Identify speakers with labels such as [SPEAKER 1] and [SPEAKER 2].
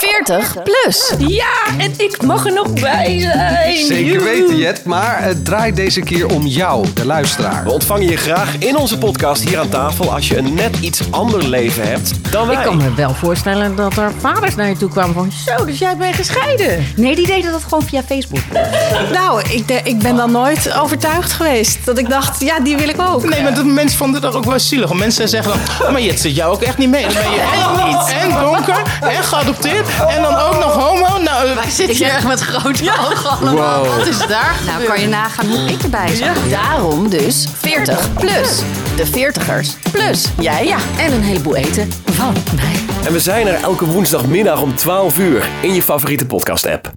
[SPEAKER 1] 40 plus.
[SPEAKER 2] Ja, en ik mag er nog bij zijn.
[SPEAKER 3] Zeker weten, Jet. Maar het draait deze keer om jou, de luisteraar.
[SPEAKER 4] We ontvangen je graag in onze podcast hier aan tafel als je een net iets ander leven hebt dan wij.
[SPEAKER 5] Ik kan me wel voorstellen dat er vaders naar je toe kwamen van... Zo, dus jij bent gescheiden.
[SPEAKER 1] Nee, die deden dat gewoon via Facebook.
[SPEAKER 6] Nou, ik, de- ik ben dan nooit overtuigd geweest. Dat ik dacht, ja, die wil ik ook.
[SPEAKER 7] Nee, maar dat mensen vonden dat ook wel zielig. Want Mensen zeggen dan, "Oh, maar Jet zit jou ook echt niet mee. Dan ben je en, niet. en donker, en geadopteerd, en dan ook nog homo. Nou, eh,
[SPEAKER 5] Zit je echt met grote ogen allemaal? Wat is daar
[SPEAKER 1] Nou kan je nagaan hoe ik erbij zat. Daarom dus 40 plus. De 40ers plus jij ja. en een heleboel eten van mij.
[SPEAKER 4] En we zijn er elke woensdagmiddag om 12 uur in je favoriete podcast app.